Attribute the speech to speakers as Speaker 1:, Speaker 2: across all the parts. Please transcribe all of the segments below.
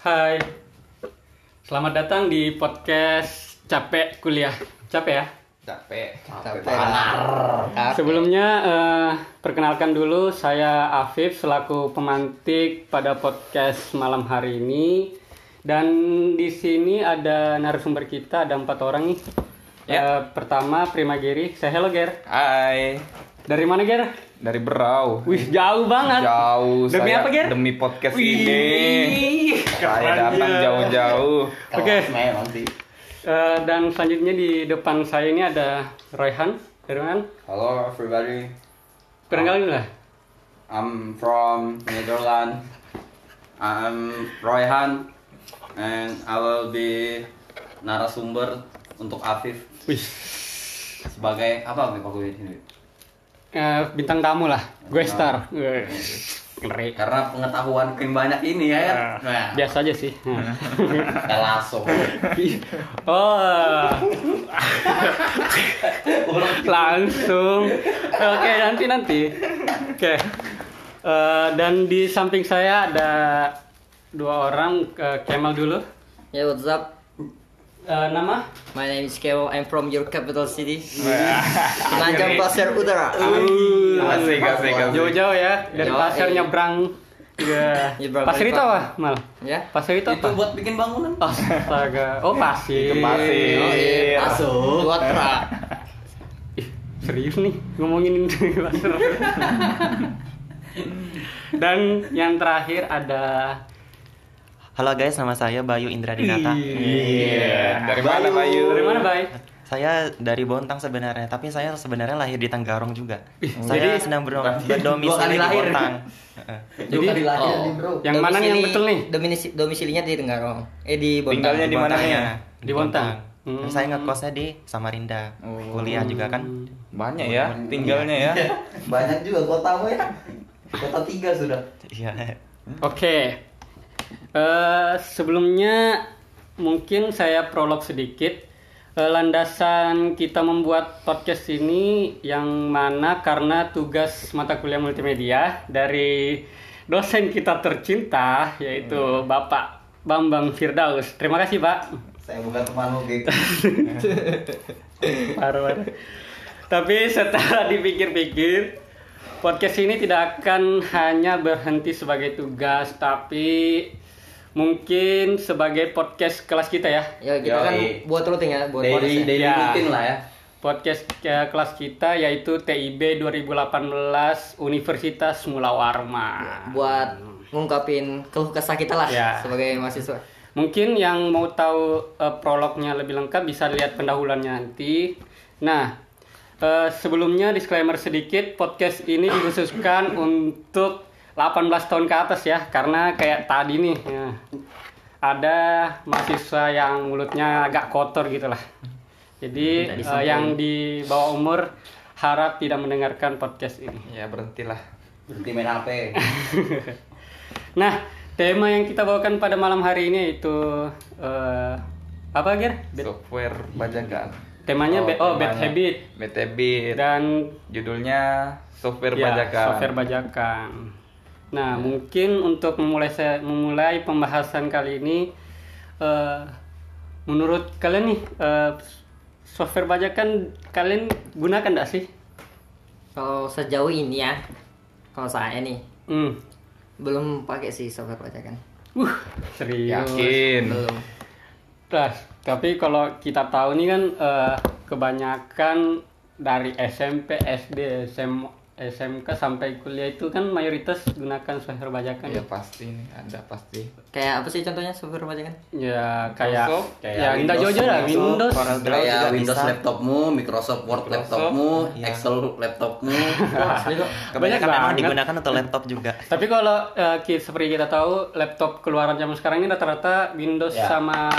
Speaker 1: Hai, selamat datang di podcast Capek Kuliah. Capek ya?
Speaker 2: capek
Speaker 3: Capek.
Speaker 2: Capek.
Speaker 1: Sebelumnya eh, perkenalkan dulu saya Afif selaku pemantik pada podcast malam hari ini. Dan di sini ada narasumber kita ada empat orang nih.
Speaker 3: Ya.
Speaker 1: Eh, pertama Prima Giri. Saya hello Ger.
Speaker 3: Hai,
Speaker 1: Dari mana Ger?
Speaker 3: dari Berau.
Speaker 1: Wih jauh banget.
Speaker 3: Jauh
Speaker 1: Demi
Speaker 3: saya
Speaker 1: apa Ger?
Speaker 3: Demi podcast
Speaker 1: Wih. Iya.
Speaker 3: ini. Saya datang jauh-jauh.
Speaker 2: Kelas
Speaker 1: Oke.
Speaker 2: memang sih
Speaker 1: Eh, dan selanjutnya di depan saya ini ada Royhan. Dari mana?
Speaker 4: Hello everybody,
Speaker 1: Kurang kali lah.
Speaker 4: I'm from Netherlands. I'm Royhan and I will be narasumber untuk Afif
Speaker 1: Wih.
Speaker 4: sebagai apa nih aku ini?
Speaker 1: Eh, bintang tamu lah, gue star. Ngeri.
Speaker 4: Karena pengetahuan yang banyak ini ya. kan? Nah,
Speaker 1: Biasa aja sih. Hmm.
Speaker 4: kita langsung.
Speaker 1: Oh, langsung. Oke, nanti nanti. Oke. Eh, dan di samping saya ada dua orang. eh, Kemal dulu.
Speaker 5: Yeah, what's up?
Speaker 1: Eh, nama?
Speaker 5: My name is Kemal. I'm from your capital city, Tanjung Pasir Utara.
Speaker 1: Uh.
Speaker 3: Asik, asik, asik.
Speaker 1: Jauh-jauh ya dari
Speaker 5: Yo,
Speaker 1: pasir
Speaker 5: eh.
Speaker 1: nyebrang. Ya.
Speaker 5: Nyebrang
Speaker 1: Pasir itu
Speaker 5: Balikpapan.
Speaker 1: apa, Mal?
Speaker 5: Ya.
Speaker 1: Pasir itu
Speaker 4: Itu Ah,
Speaker 1: apa?
Speaker 4: buat bikin bangunan.
Speaker 1: Astaga. Oh, pasir.
Speaker 5: Oh,
Speaker 3: Masih.
Speaker 5: iya. Masuk. Utara.
Speaker 1: Ih, serius nih ngomongin laser. Dan yang terakhir ada
Speaker 6: Halo guys, nama saya Bayu Indra Dinata.
Speaker 3: Iya. Dari mana Bayu?
Speaker 1: dari mana, Bay?
Speaker 6: Saya dari Bontang sebenarnya, tapi saya sebenarnya lahir di Tanggarong juga.
Speaker 1: jadi-
Speaker 6: Saya sedang berdo- berdomisili
Speaker 4: kali
Speaker 6: di
Speaker 4: lahir.
Speaker 6: Bontang.
Speaker 1: Jadi
Speaker 4: Oh.
Speaker 2: dilahirin, bro.
Speaker 1: yang mana nih yang
Speaker 5: Oh. Domisili-
Speaker 1: betul nih?
Speaker 5: dominisi- domisilinya di Tenggarong. Eh di
Speaker 3: Tinggalnya
Speaker 5: Bontang.
Speaker 3: di mana
Speaker 6: Bontangnya,
Speaker 3: ya?
Speaker 1: Di Bontang.
Speaker 6: Tapi
Speaker 1: Hmm.
Speaker 6: Saya ngekosnya di Samarinda. Kuliah juga kan.
Speaker 3: Banyak ya, tinggalnya ya.
Speaker 2: banyak juga kotamu ya kota tiga sudah
Speaker 6: Iya.
Speaker 1: Oke. Eh, sebelumnya mungkin saya prolog sedikit Eh, landasan kita membuat podcast ini yang mana karena tugas mata kuliah multimedia dari dosen kita tercinta yaitu Bapak Bambang Firdaus. Terima kasih, Pak.
Speaker 2: saya bukan temanmu gitu
Speaker 1: Parah, parah. Tapi setelah dipikir-pikir, podcast ini tidak akan hanya berhenti sebagai tugas, tapi mungkin sebagai podcast kelas kita ya.
Speaker 5: Ya kita kan
Speaker 4: Yoi.
Speaker 5: buat rutin ya, buat
Speaker 4: Daily
Speaker 5: podcast ya.
Speaker 4: daily
Speaker 1: Ya.
Speaker 4: routine lah ya.
Speaker 1: Podcast eh, kelas kita yaitu TIB 2018 Universitas Mula Warma.
Speaker 5: Buat ngungkapin keluh kesah kita lah
Speaker 1: Ya.
Speaker 5: sebagai mahasiswa.
Speaker 1: Mungkin yang mau tahu eh, prolognya lebih lengkap bisa lihat pendahuluannya nanti. Nah, eh, sebelumnya disclaimer sedikit, podcast ini dikhususkan untuk 18 tahun ke atas ya, karena kayak tadi nih ya, ada mahasiswa yang mulutnya agak kotor gitu lah. Jadi eh, yang di bawah umur harap tidak mendengarkan podcast ini.
Speaker 3: Ya berhentilah.
Speaker 2: berhenti main hp
Speaker 1: Nah, tema yang kita bawakan pada malam hari ini itu eh, apa, Ger? Bad-
Speaker 3: Software bajakan.
Speaker 1: Temanya ba- oh, bad
Speaker 3: temanya
Speaker 1: habit
Speaker 3: Bad habit.
Speaker 1: dan
Speaker 3: Judulnya software kan?
Speaker 1: ya,
Speaker 3: bajakan.
Speaker 1: software bajakan. Nah, mungkin untuk memulai se- memulai pembahasan kali ini eh, menurut kalian nih eh, software bajakan kalian gunakan enggak sih?
Speaker 5: Kalau sejauh ini ya, kalau saya nih
Speaker 1: Hmm.
Speaker 5: belum pakai sih software pelajaran.
Speaker 1: Uh, serius.
Speaker 3: Yakin.
Speaker 1: Iya,
Speaker 5: Belum.
Speaker 1: Nah, tapi kalau kita tahu nih kan eh, kebanyakan dari SMP, SD, SM, SMK sampai kuliah itu kan mayoritas gunakan software bajakan
Speaker 3: Ya
Speaker 1: ya.
Speaker 3: pasti nih, ada pasti.
Speaker 5: Kayak apa sih contohnya software pelajaran?
Speaker 1: Ya kayak
Speaker 3: Microsoft,
Speaker 1: ya
Speaker 4: kayak
Speaker 1: kita jauh-jauh lah Windows.
Speaker 6: Corel Draw juga
Speaker 4: Kayak Windows
Speaker 6: bisa.
Speaker 4: laptopmu, Microsoft Word laptopmu, Excel laptopmu.
Speaker 6: Kebanyakan memang
Speaker 1: banget.
Speaker 6: digunakan untuk laptop juga.
Speaker 1: Tapi kalau eh, ki- seperti kita tahu laptop keluaran zaman sekarang ini rata-rata Windows
Speaker 4: Ya.
Speaker 1: sama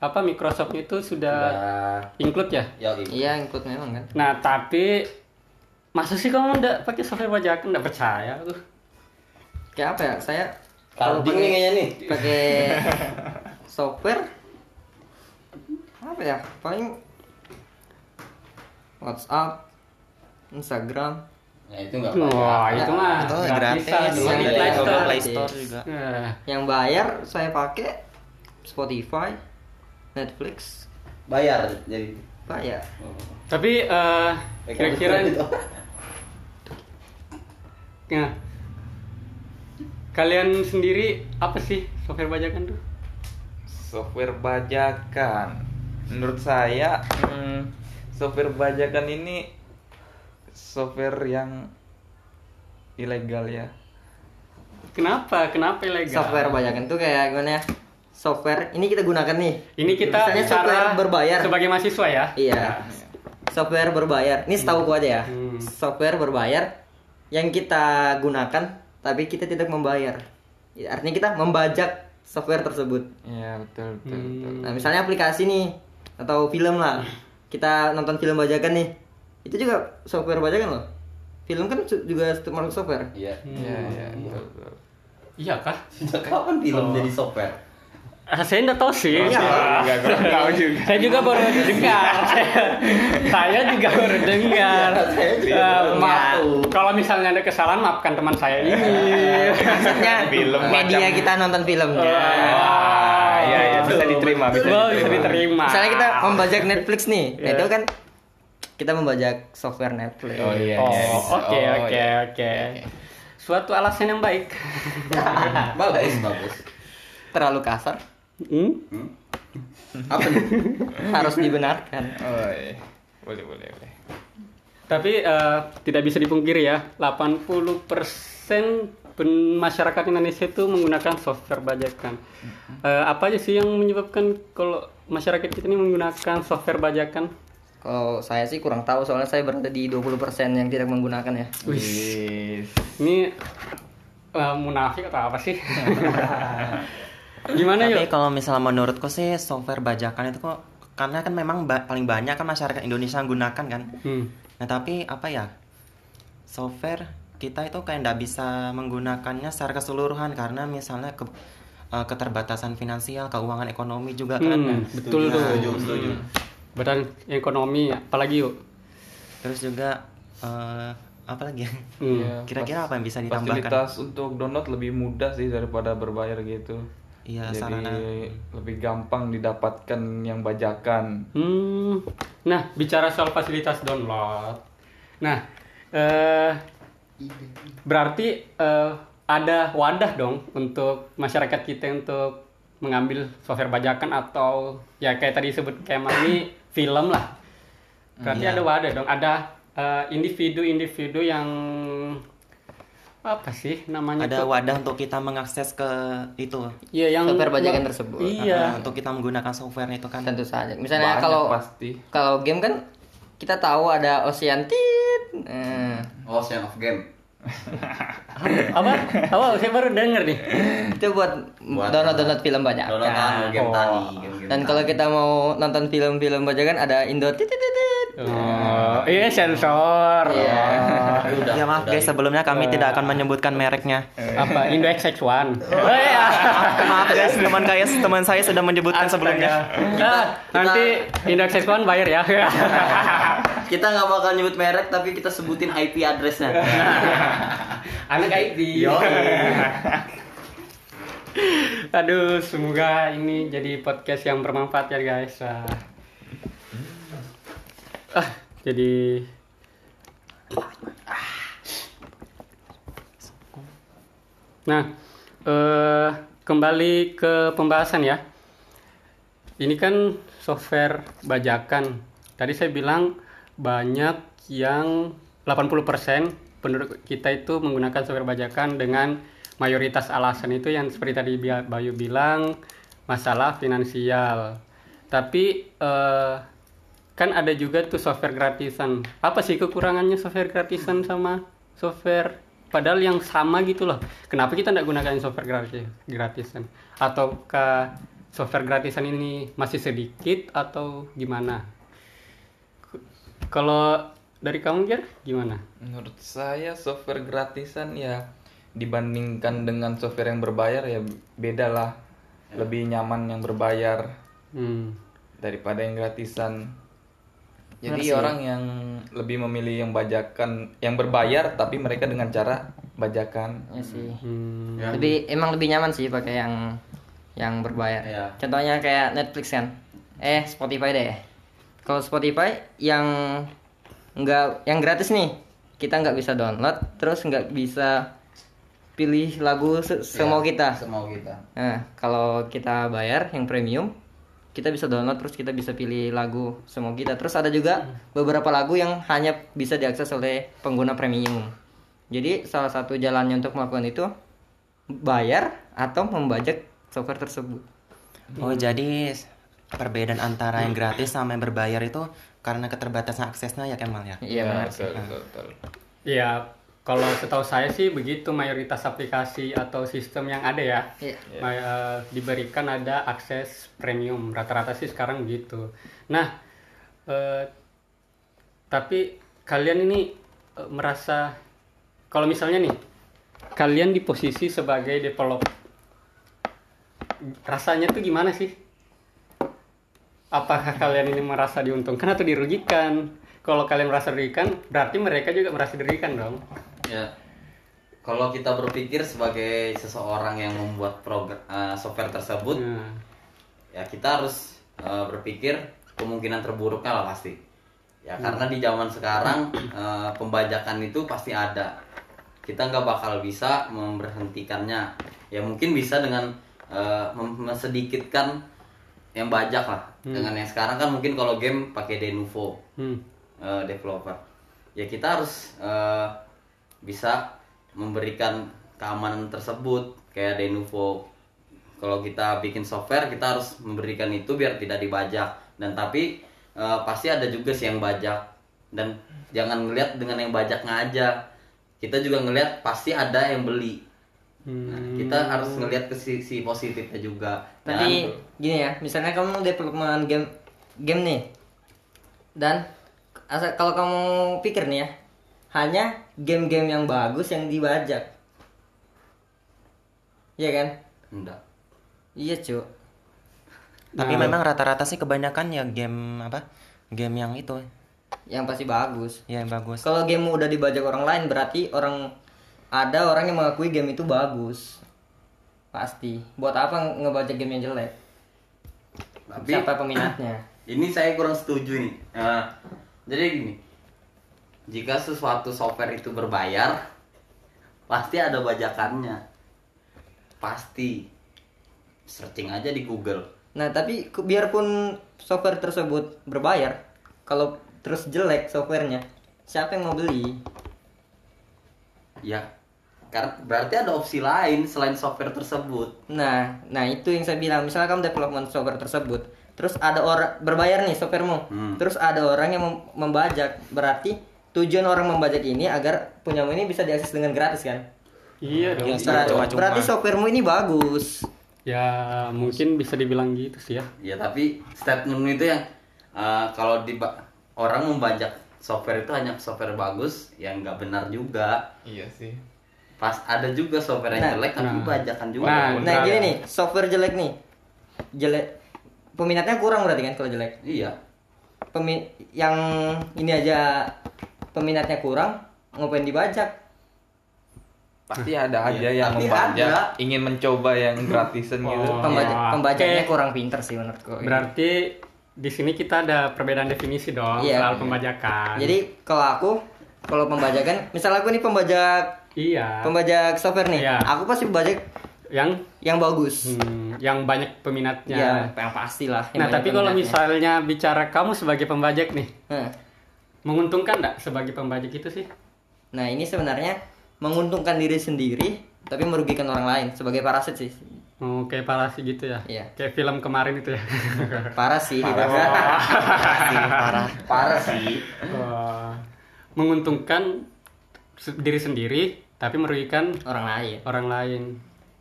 Speaker 1: apa Microsoft itu sudah
Speaker 4: Nah,
Speaker 1: include ya.
Speaker 4: yoi.
Speaker 5: Iya, ikut memang kan.
Speaker 1: Nah, tapi masa sih kamu ndak pakai software bajakan? Ndak percaya aku.
Speaker 5: Kayak apa ya? Saya kalau
Speaker 2: karding nih
Speaker 5: pakai-
Speaker 2: kayaknya nih
Speaker 5: pakai software apa ya paling WhatsApp Instagram
Speaker 4: Ya itu enggak apa-apa.
Speaker 1: Wah, itu mah
Speaker 6: Itu
Speaker 1: Ah, nggak
Speaker 6: gratis,
Speaker 1: bisa, bisa
Speaker 6: dari
Speaker 1: di Play
Speaker 6: Google
Speaker 1: Store.
Speaker 6: Play Store juga.
Speaker 1: Nah,
Speaker 5: Yang bayar saya pakai Spotify, Netflix, ya?
Speaker 2: Bayar jadi.
Speaker 5: bayar.
Speaker 4: Oh.
Speaker 1: tapi eh, kira-kira Nah, kalian sendiri apa sih software bajakan tuh?
Speaker 3: Software bajakan. Menurut saya, hmm, software bajakan ini software yang ilegal ya.
Speaker 1: Kenapa? Kenapa ilegal?
Speaker 5: Software bajakan tuh kayak gimana ya? Software ini kita gunakan nih.
Speaker 1: Ini kita
Speaker 5: Misalnya software
Speaker 1: cara
Speaker 5: berbayar.
Speaker 1: sebagai mahasiswa ya.
Speaker 5: Iya. Software berbayar. Ini setahu gua aja ya.
Speaker 1: Hmm.
Speaker 5: Software berbayar yang kita gunakan tapi kita tidak membayar. Ya, Artinya kita membajak software tersebut.
Speaker 3: Iya betul betul. betul.
Speaker 5: Nah, misalnya aplikasi nih atau film lah.
Speaker 3: Hmm.
Speaker 5: Kita nonton film bajakan nih. Itu juga software bajakan loh. Film kan su- juga termasuk software.
Speaker 2: Iya.
Speaker 1: Hmm.
Speaker 3: Iya iya betul, betul.
Speaker 1: Iya kah?
Speaker 2: Sejak kapan film
Speaker 1: Oh.
Speaker 2: jadi software?
Speaker 1: Ah, saya nggak tahu
Speaker 5: Oh,
Speaker 1: sih. Iya.
Speaker 3: Enggak kurang tahu juga.
Speaker 1: Saya
Speaker 5: Iya.
Speaker 1: juga baru dengar. saya juga baru dengar.
Speaker 5: Iya,
Speaker 2: saya juga
Speaker 1: Eh,
Speaker 2: baru
Speaker 1: maaf.
Speaker 2: tahu.
Speaker 1: Kalau misalnya ada kesalahan maafkan teman saya
Speaker 5: Iya,
Speaker 1: ini.
Speaker 5: Maksudnya
Speaker 3: Film
Speaker 5: media
Speaker 3: macam- Oh,
Speaker 5: kita nonton film. kan?
Speaker 3: Ah, iya iya bisa diterima bisa
Speaker 1: Wow, bisa diterima.
Speaker 5: Misalnya kita membajak Netflix nih. Nah, itu kan kita membajak software Netflix.
Speaker 3: Iya. Oh iya.
Speaker 1: Oh,
Speaker 3: iya, bisa.
Speaker 1: oke
Speaker 3: Oh,
Speaker 1: oke
Speaker 3: iya.
Speaker 1: oke. Suatu alasan yang baik.
Speaker 2: bagus bagus.
Speaker 5: Terlalu kasar.
Speaker 1: Hmm?
Speaker 2: Apa nih?
Speaker 5: Harus dibenarkan.
Speaker 3: Oh, iya. Boleh boleh boleh.
Speaker 1: Tapi eh, tidak bisa dipungkiri ya, 80% pen- masyarakat Indonesia itu menggunakan software bajakan. Eh, apa aja sih yang menyebabkan kalau masyarakat kita ini menggunakan software bajakan?
Speaker 5: Kalau saya sih kurang tahu soalnya saya berada di 20% yang tidak menggunakan ya.
Speaker 3: Wis.
Speaker 1: Ini eh, munafik atau apa sih? Gimana
Speaker 6: Tapi
Speaker 1: yuk?
Speaker 6: kalau misalnya menurutku sih software bajakan itu kok karena kan memang ba- paling banyak kan masyarakat Indonesia yang gunakan kan.
Speaker 1: Hmm.
Speaker 6: Nah tapi apa ya software kita itu kayak nggak bisa menggunakannya secara keseluruhan karena misalnya ke- eh, keterbatasan finansial, keuangan ekonomi juga kan.
Speaker 1: Hmm, betul tuh. Hmm.
Speaker 2: Setuju setuju.
Speaker 1: Badan ekonomi, apalagi yuk.
Speaker 6: Terus juga eh, apa lagi ya?
Speaker 1: Hmm.
Speaker 3: Iya,
Speaker 6: Kira-kira apa yang bisa ditambahkan?
Speaker 3: Fasilitas untuk download lebih mudah sih daripada berbayar gitu.
Speaker 6: Iya,
Speaker 3: Jadi
Speaker 6: sarana.
Speaker 3: lebih gampang didapatkan yang bajakan.
Speaker 1: Hmm. Nah, bicara soal fasilitas download. Nah, eh berarti eh, ada wadah dong untuk masyarakat kita untuk mengambil software bajakan atau ya kayak tadi disebut kayak ini film lah. Berarti
Speaker 5: Iya.
Speaker 1: ada wadah dong, ada eh, individu-individu yang apa sih namanya
Speaker 6: Ada
Speaker 1: tuh?
Speaker 6: wadah untuk kita mengakses ke itu. Eh,
Speaker 1: Iya, yang
Speaker 5: Software bajakan tersebut. Ah,
Speaker 1: Iya.
Speaker 6: Untuk kita menggunakan software itu kan.
Speaker 5: Nah, Tentu saja. Misalnya
Speaker 3: Banyak
Speaker 5: kalau
Speaker 3: pasti.
Speaker 5: kalau game kan kita tahu ada Ocean Tit. Eh,
Speaker 2: Oh, Ocean of Game.
Speaker 1: apa? Apa? Saya baru denger nih.
Speaker 5: itu buat
Speaker 2: Hmm. Buat
Speaker 5: download-download film banyak. kan. Oh.
Speaker 2: Download tanu, game tani, game-game
Speaker 5: Dan kalau
Speaker 2: tani.
Speaker 5: kita mau nonton film-film bajakan ada Indo Tit, tit, tit, tit.
Speaker 1: Oh, iya sensor.
Speaker 5: Oh.
Speaker 2: Ah, udah,
Speaker 6: ya maaf
Speaker 2: udah
Speaker 6: guys,
Speaker 2: itu.
Speaker 6: sebelumnya kami tidak akan menyebutkan mereknya.
Speaker 1: apa Indo XX1 oh, iya.
Speaker 6: maaf guys, teman saya teman saya sudah menyebutkan sebelumnya.
Speaker 1: Ah, nanti Indo XX1 bayar ya
Speaker 2: Kita nggak bakal nyebut merek tapi kita sebutin IP address-nya.
Speaker 1: anak IT aduh semoga ini jadi podcast yang bermanfaat ya guys Wah. ah jadi nah eh, kembali ke pembahasan ya Ini kan software bajakan. Tadi saya bilang banyak yang 80% penduduk kita itu menggunakan software bajakan dengan mayoritas alasan itu yang seperti tadi Bi- Bayu bilang masalah finansial. Tapi eh, kan ada juga tuh software gratisan. Apa sih kekurangannya software gratisan sama software padahal yang sama gitu loh. Kenapa kita nggak gunakan software gratis gratisan? Ataukah software gratisan ini masih sedikit atau gimana? K- Kalau dari kamu Ger, gimana?
Speaker 3: Menurut saya software gratisan ya dibandingkan dengan software yang berbayar ya beda lah. Lebih nyaman yang berbayar
Speaker 1: Hmm.
Speaker 3: daripada yang gratisan. Jadi orang yang lebih memilih yang bajakan yang berbayar tapi mereka dengan cara bajakan
Speaker 5: ya sih
Speaker 1: Hmm.
Speaker 4: Ya.
Speaker 5: lebih emang lebih nyaman sih pakai yang yang berbayar
Speaker 4: Iya.
Speaker 5: contohnya kayak Netflix kan eh Spotify deh kalau Spotify yang nggak yang gratis nih kita nggak bisa download terus nggak bisa pilih lagu se- semau kita
Speaker 4: Semau kita.
Speaker 5: Nah, kalau kita bayar yang premium, kita bisa download terus kita bisa pilih lagu semua kita. Terus ada juga beberapa lagu yang hanya bisa diakses oleh pengguna premium. Jadi salah satu jalannya untuk melakukan itu bayar atau membajak software tersebut.
Speaker 1: Hmm.
Speaker 6: Oh jadi perbedaan antara yang gratis sama yang berbayar itu karena keterbatasan aksesnya ya Kemal ya?
Speaker 5: Iya
Speaker 3: Ya,
Speaker 5: benar.
Speaker 3: betul, betul, betul.
Speaker 1: Ya, kalau setahu saya sih begitu mayoritas aplikasi atau sistem yang ada ya.
Speaker 5: Iya.
Speaker 1: May- eh, diberikan ada akses premium rata-rata sih sekarang begitu. Nah, eh, tapi kalian ini eh, merasa kalau misalnya nih kalian di posisi sebagai developer rasanya tuh gimana sih? Apakah kalian ini merasa diuntungkan atau dirugikan? Kalau kalian merasa dirugikan, berarti mereka juga merasa dirugikan dong.
Speaker 4: Ya. Kalau kita berpikir sebagai seseorang yang membuat program
Speaker 2: eh,
Speaker 4: software tersebut,
Speaker 1: Nah,
Speaker 4: ya kita harus eh, berpikir kemungkinan terburuknya lah pasti. Ya karena di zaman sekarang eh, pembajakan itu pasti ada. Kita nggak bakal bisa memberhentikannya. Ya mungkin bisa dengan eh, mem- mesedikitkan yang bajak lah. Dengan yang sekarang kan mungkin kalau game pakai Denuvo
Speaker 1: hmm.
Speaker 4: eh, developer. Ya kita harus eh, bisa memberikan keamanan tersebut kayak Denuvo. Kalau kita bikin software kita harus memberikan itu biar tidak dibajak. Dan tapi eh, pasti ada juga sih yang bajak. Dan jangan ngelihat dengan yang bajaknya aja. Kita juga ngelihat pasti ada yang beli. Nah, kita harus ngelihat ke sisi positifnya juga.
Speaker 5: Tapi
Speaker 4: Jangan-
Speaker 5: gini ya, misalnya kamu development game game nih. Dan asa- kalau kamu pikir nih ya, hanya game-game yang bagus yang dibajak. Iya kan?
Speaker 4: enggak.
Speaker 5: Iya, Cuk.
Speaker 6: Tapi memang rata-rata sih kebanyakan ya game apa? Game yang itu
Speaker 5: Yang pasti bagus.
Speaker 6: ya yang bagus.
Speaker 5: Kalau game udah dibajak orang lain berarti orang ada orang yang mengakui game itu bagus. Pasti. Buat apa ngebajak game yang jelek?
Speaker 4: Tapi-
Speaker 5: Siapa peminatnya?
Speaker 4: ini saya kurang setuju nih Eh, jadi gini jika sesuatu software itu berbayar pasti ada bajakannya pasti searching aja di Google
Speaker 5: Nah, tapi ke- biarpun software tersebut berbayar, kalau terus jelek softwarenya, siapa yang mau beli?
Speaker 4: ya karena berarti ada opsi lain selain software tersebut
Speaker 5: Nah, nah itu yang saya bilang. Misalnya kamu development software tersebut, terus ada orang berbayar nih softwaremu,
Speaker 4: Hmm.
Speaker 5: terus ada orang yang mem- membajak, berarti tujuan orang membajak ini agar punyamu ini bisa diakses dengan gratis kan?
Speaker 1: Iya dong.
Speaker 6: Iya.
Speaker 5: Berarti,
Speaker 6: cuma-cuma.
Speaker 5: berarti softwaremu ini bagus.
Speaker 1: Ya mungkin bisa dibilang gitu sih ya.
Speaker 4: ya tapi statement itu yang eh, kalau di orang membajak software itu hanya software bagus yang nggak benar juga
Speaker 3: Iya sih.
Speaker 4: pas ada juga software
Speaker 5: Nah,
Speaker 4: yang jelek tapi
Speaker 1: nah.
Speaker 4: bajakan juga
Speaker 1: Nah,
Speaker 5: Nah,
Speaker 1: Benar.
Speaker 5: gini nih, software jelek nih. Jelek peminatnya kurang berarti kan kalau jelek.
Speaker 4: iya
Speaker 5: Pemi yang ini aja peminatnya kurang, ngapain dibajak?
Speaker 3: Pasti ada aja
Speaker 4: Iya,
Speaker 3: yang
Speaker 4: tapi
Speaker 3: membajak,
Speaker 4: ada.
Speaker 3: ingin mencoba yang gratisan gitu.
Speaker 1: Oh.
Speaker 5: Pembajak,
Speaker 1: Iya.
Speaker 5: pembajaknya
Speaker 1: Oke.
Speaker 5: kurang pinter sih menurutku.
Speaker 1: Berarti di sini kita ada perbedaan definisi dong
Speaker 5: Iya.
Speaker 1: soal pembajakan.
Speaker 5: Jadi kalau aku kalau pembajakan, misal aku nih pembajak
Speaker 1: iya
Speaker 5: pembajak software nih,
Speaker 1: Iya.
Speaker 5: aku pasti pembajak
Speaker 1: yang
Speaker 5: yang bagus.
Speaker 1: hmm, yang banyak peminatnya.
Speaker 5: Ya, yang pastilah.
Speaker 1: Nah
Speaker 5: yang banyak
Speaker 1: tapi kalau
Speaker 5: peminatnya.
Speaker 1: misalnya bicara kamu sebagai pembajak nih,
Speaker 5: Nah,
Speaker 1: menguntungkan nggak sebagai pembajak itu sih?
Speaker 5: Nah ini sebenarnya menguntungkan diri sendiri tapi merugikan orang lain sebagai parasit sih.
Speaker 1: Oh, kayak parasi gitu ya?
Speaker 5: Iya.
Speaker 1: Kayak film kemarin itu ya?
Speaker 5: Parah sih.
Speaker 4: parah sih
Speaker 1: Wah. Oh, menguntungkan se- diri sendiri tapi merugikan
Speaker 5: orang lain.
Speaker 1: orang lain.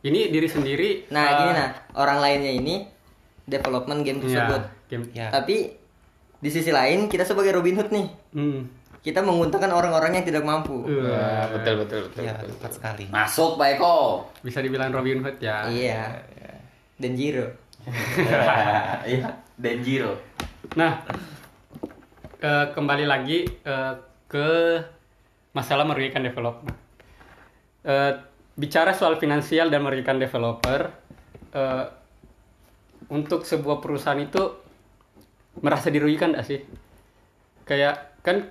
Speaker 1: Ini diri sendiri.
Speaker 5: Nah
Speaker 1: eh,
Speaker 5: gini nah orang lainnya ini development game
Speaker 1: iya,
Speaker 5: tersebut.
Speaker 1: game-
Speaker 6: Ya.
Speaker 5: Tapi di sisi lain kita sebagai Robin Hood nih
Speaker 1: Hmm.
Speaker 5: kita menguntungkan orang-orang yang tidak mampu.
Speaker 1: Wah,
Speaker 3: Wah, betul betul betul.
Speaker 6: Ya
Speaker 3: betul.
Speaker 6: tepat sekali.
Speaker 4: Masuk Pak Eko.
Speaker 1: Bisa dibilang Robin Hood ya.
Speaker 5: Iya. Dan Jiro.
Speaker 4: Iya, Denjiro.
Speaker 1: Nah, eh, kembali lagi eh, ke masalah merugikan development. Eh, eh, bicara soal finansial dan merugikan developer, eh, untuk sebuah perusahaan itu merasa dirugikan nggak sih? Kayak kan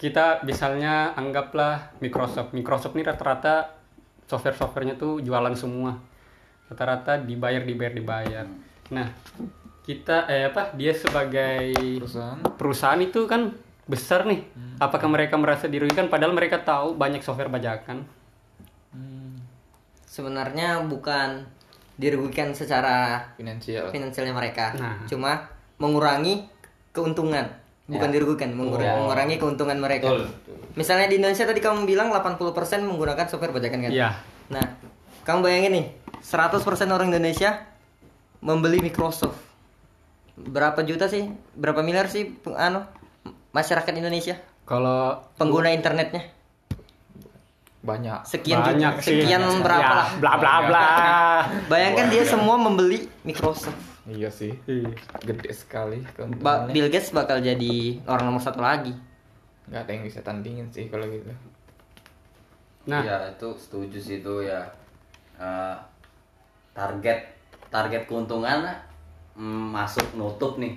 Speaker 1: kita misalnya anggaplah Microsoft. Microsoft ini rata-rata software-softwarenya tuh jualan semua. Rata-rata dibayar, dibayar, dibayar. Nah, kita eh apa dia sebagai
Speaker 3: perusahaan
Speaker 1: perusahaan itu kan besar nih. Apakah mereka merasa dirugikan padahal mereka tahu banyak software bajakan?
Speaker 5: Sebenarnya bukan dirugikan secara
Speaker 3: finansial
Speaker 5: finansialnya mereka,
Speaker 1: Nah.
Speaker 5: cuma mengurangi keuntungan,
Speaker 1: Ya.
Speaker 5: bukan dirugikan, mengur- mengurangi keuntungan mereka. Misalnya di Indonesia tadi kamu bilang 80% menggunakan software bajakan kan?
Speaker 1: Iya.
Speaker 5: Nah, kamu bayangin nih, 100% orang Indonesia membeli Microsoft. Berapa juta sih? Berapa miliar sih pe- anu masyarakat Indonesia?
Speaker 1: Kalau
Speaker 5: Pengguna internetnya
Speaker 3: banyak
Speaker 5: sekian
Speaker 1: banyak
Speaker 5: juta,
Speaker 1: sih.
Speaker 5: sekian berapa
Speaker 1: Ya,
Speaker 5: lah.
Speaker 1: Bla bla bla.
Speaker 5: Bayangkan dia semua membeli Microsoft.
Speaker 3: iya sih
Speaker 1: Iya.
Speaker 3: gede sekali
Speaker 5: Ba-
Speaker 3: keuntungannya
Speaker 5: Bill Gates bakal jadi orang nomor satu lagi.
Speaker 3: nggak ada yang bisa tandingin sih kalau gitu
Speaker 1: Nah,
Speaker 4: ya itu setuju sih itu ya Eh, target target keuntungan mm, masuk nutup nih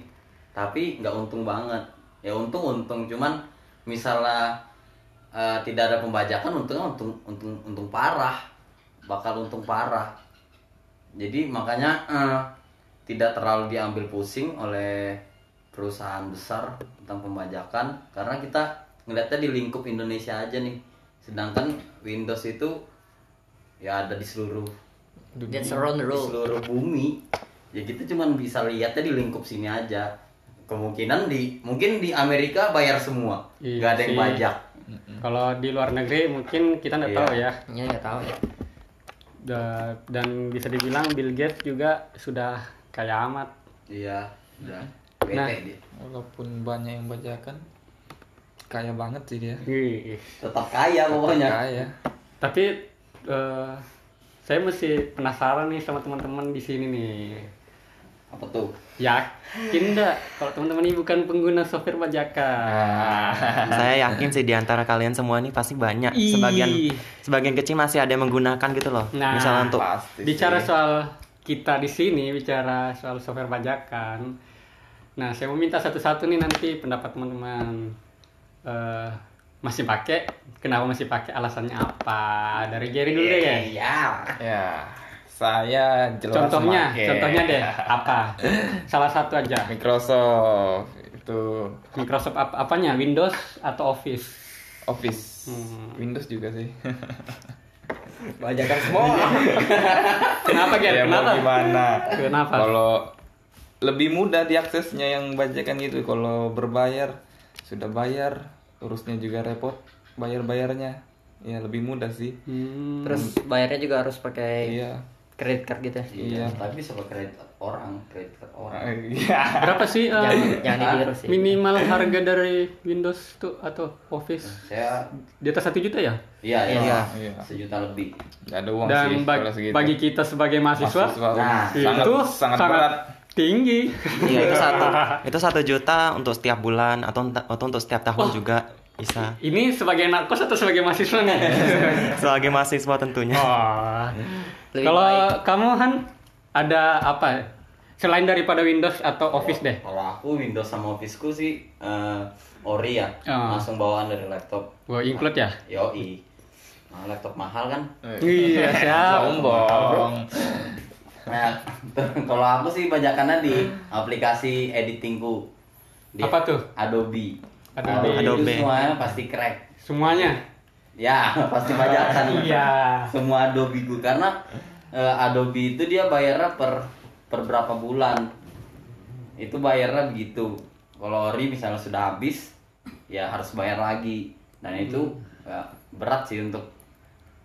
Speaker 4: tapi nggak untung banget ya untung untung cuman misalnya eh, tidak ada pembajakan untungnya untung untung untung parah bakal untung parah jadi makanya eh, tidak terlalu diambil pusing oleh perusahaan besar tentang pembajakan karena kita ngeliatnya di lingkup Indonesia aja nih sedangkan Windows itu ya ada di seluruh
Speaker 5: That's around the
Speaker 4: di
Speaker 5: world.
Speaker 4: seluruh bumi ya kita cuman bisa lihatnya di lingkup sini aja kemungkinan di mungkin di Amerika bayar semua
Speaker 1: Iya
Speaker 4: nggak ada yang
Speaker 1: sih.
Speaker 4: pajak
Speaker 1: kalau di luar negeri mungkin kita nggak
Speaker 4: Iya.
Speaker 1: tahu ya.
Speaker 5: Ya nggak tahu ya.
Speaker 1: Da- Dan bisa dibilang Bill Gates juga sudah kaya amat.
Speaker 4: iya udah bete
Speaker 1: Nah.
Speaker 4: dia
Speaker 3: walaupun banyak yang bajakan kaya banget sih dia
Speaker 1: Ih.
Speaker 4: tetap kaya pokoknya
Speaker 3: kaya
Speaker 1: Tapi eh, saya masih penasaran nih sama teman-teman di sini nih. Ya,
Speaker 4: apa tuh
Speaker 1: Yakin nggak kalau teman-teman ini bukan pengguna software
Speaker 5: Nah.
Speaker 1: bajakan?
Speaker 6: saya yakin sih di antara kalian semua ini pasti banyak
Speaker 1: Ih.
Speaker 6: sebagian sebagian kecil masih ada yang menggunakan gitu loh
Speaker 1: Nah.
Speaker 6: misalnya untuk
Speaker 3: pasti
Speaker 1: bicara
Speaker 3: sih.
Speaker 1: soal kita di sini bicara soal software pajakan nah saya mau minta satu-satu nih nanti pendapat teman-teman Eh, masih pakai kenapa masih pakai alasannya apa dari Jerry dulu deh ya
Speaker 4: iya
Speaker 3: ya saya jelas
Speaker 1: contohnya
Speaker 3: make.
Speaker 1: contohnya deh apa salah satu aja
Speaker 3: Microsoft itu
Speaker 1: Microsoft ap- apanya Windows atau Office
Speaker 3: Office
Speaker 1: Hmm.
Speaker 3: Windows juga sih
Speaker 5: Bajakan semua.
Speaker 1: kenapa Ger
Speaker 3: ya mau
Speaker 1: kenapa
Speaker 3: gimana
Speaker 1: Kenapa?
Speaker 3: kalau lebih mudah diaksesnya yang bajakan gitu kalau berbayar sudah bayar urusnya juga repot bayar bayarnya ya lebih mudah sih
Speaker 1: Hmm,
Speaker 5: Terus bayarnya juga harus pakai
Speaker 3: iya
Speaker 5: kredit card gitu ya.
Speaker 4: iya tapi bisa pakai kredit orang kredit card orang
Speaker 3: iya
Speaker 1: berapa sih eh,
Speaker 5: Jangan, jangan ditiru sih.
Speaker 1: minimal harga dari Windows tuh atau Office
Speaker 4: saya
Speaker 1: di atas satu juta ya
Speaker 4: iya iya
Speaker 3: Iya.
Speaker 4: sejuta lebih
Speaker 3: nggak ada uang
Speaker 1: dan
Speaker 3: sih
Speaker 1: bag-
Speaker 3: kalau segitu
Speaker 1: bagi kita sebagai mahasiswa,
Speaker 3: Mahasiswa,
Speaker 4: Nah,
Speaker 1: itu
Speaker 3: sangat sangat berat
Speaker 1: tinggi
Speaker 6: iya itu satu itu satu juta untuk setiap bulan atau enta- atau untuk setiap
Speaker 1: Oh.
Speaker 6: tahun juga bisa
Speaker 1: ini sebagai anak kos atau sebagai mahasiswa nih
Speaker 6: sebagai mahasiswa tentunya
Speaker 1: oh.
Speaker 5: Lebih
Speaker 1: kalau
Speaker 5: baik.
Speaker 1: kamu Han ada apa selain daripada Windows atau Office deh
Speaker 4: Kalau aku Windows sama Office-ku sih eh, ori ya,
Speaker 1: Ah.
Speaker 4: langsung bawaan dari laptop.
Speaker 1: Wah, include ya
Speaker 4: Yoi. Nah, laptop mahal kan.
Speaker 1: iya siap
Speaker 3: sombong
Speaker 4: Nah, kalau aku sih banyakannya di aplikasi editingku. Di
Speaker 1: Apa tuh?
Speaker 4: Adobe.
Speaker 1: Adobe.
Speaker 4: Adobe.
Speaker 6: Adobe.
Speaker 4: itu Semuanya pasti crack.
Speaker 1: semuanya
Speaker 4: Ya, pasti bajakan.
Speaker 1: iya
Speaker 4: Semua Adobe ku karena eh, Adobe itu dia bayarnya per per berapa bulan. Itu bayarnya begitu. Kalau ori misalnya sudah habis, ya harus bayar lagi. Dan itu
Speaker 1: Hmm.
Speaker 4: ya, berat sih untuk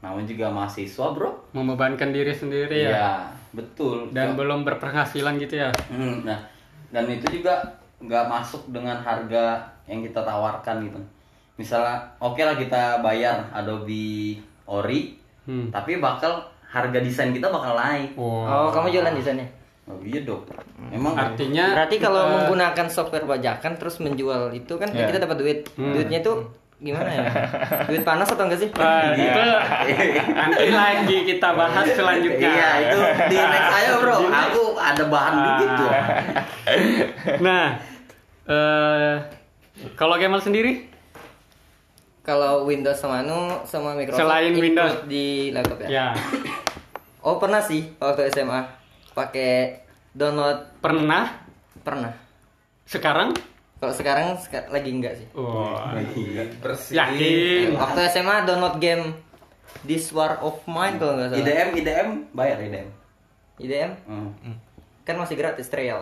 Speaker 4: namun juga mahasiswa, Bro.
Speaker 1: membebankan diri sendiri
Speaker 3: Iya.
Speaker 1: ya
Speaker 4: Iya, betul.
Speaker 1: dan
Speaker 4: Ya.
Speaker 1: belum berpenghasilan gitu ya
Speaker 4: Hmm, nah, dan itu juga nggak masuk dengan harga yang kita tawarkan gitu. Misalnya, oke lah kita bayar Adobe Ori,
Speaker 1: Hmm.
Speaker 4: tapi bakal harga desain kita bakal naik.
Speaker 1: Wah.
Speaker 5: Oh, kamu jualan di sana.
Speaker 4: Oh iya dong. Emang
Speaker 1: artinya Eh,
Speaker 5: Berarti kalau menggunakan software bajakan terus menjual itu
Speaker 1: Ya.
Speaker 5: kan
Speaker 3: Iya.
Speaker 1: Hmm.
Speaker 5: kita dapat duit. Duitnya itu gimana ya? Duit panas atau enggak sih?
Speaker 1: Nah, itu nanti lagi kita bahas selanjutnya.
Speaker 4: Iya itu di next aja bro. Aku ada bahan
Speaker 1: Ah.
Speaker 4: dikit tuh.
Speaker 1: Nah, eh kalau Kemal sendiri,
Speaker 5: Kalau Windows sama anu sama Microsoft
Speaker 1: Selain
Speaker 5: include
Speaker 1: Windows.
Speaker 5: di laptop ya?
Speaker 1: ya
Speaker 5: Oh pernah sih waktu SMA pakai download
Speaker 1: pernah.
Speaker 5: pernah.
Speaker 1: Sekarang,
Speaker 5: Kalau sekarang seka- lagi enggak sih?
Speaker 1: Wah,
Speaker 4: Bersih.
Speaker 1: yakin.
Speaker 5: Waktu SMA download game This War of Mine kalau nggak salah.
Speaker 4: IDM IDM bayar IDM.
Speaker 5: IDM
Speaker 4: Hmm.
Speaker 5: kan masih gratis trial.